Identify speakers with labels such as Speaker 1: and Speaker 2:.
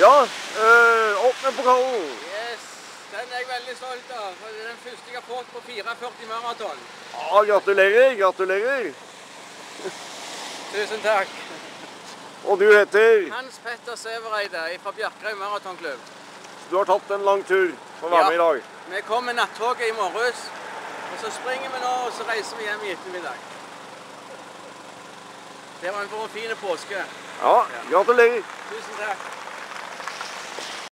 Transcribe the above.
Speaker 1: Ja, øh, opp med pokalen!
Speaker 2: Yes, Den er jeg veldig stolt av. for Det er den første jeg har fått på 44 maraton.
Speaker 1: Ja, gratulerer, gratulerer.
Speaker 2: Tusen takk.
Speaker 1: Og du heter?
Speaker 2: Hans Petter Sævereide fra Bjerkreim maratonklubb.
Speaker 1: Du har tatt en lang tur for å være
Speaker 2: Ja.
Speaker 1: med i dag.
Speaker 2: Vi kom med nattoget i morges, og så springer vi nå, og så reiser vi hjem i ettermiddag. Det var en for en fin påske.
Speaker 1: Ja, gratulerer.
Speaker 2: Tusen takk.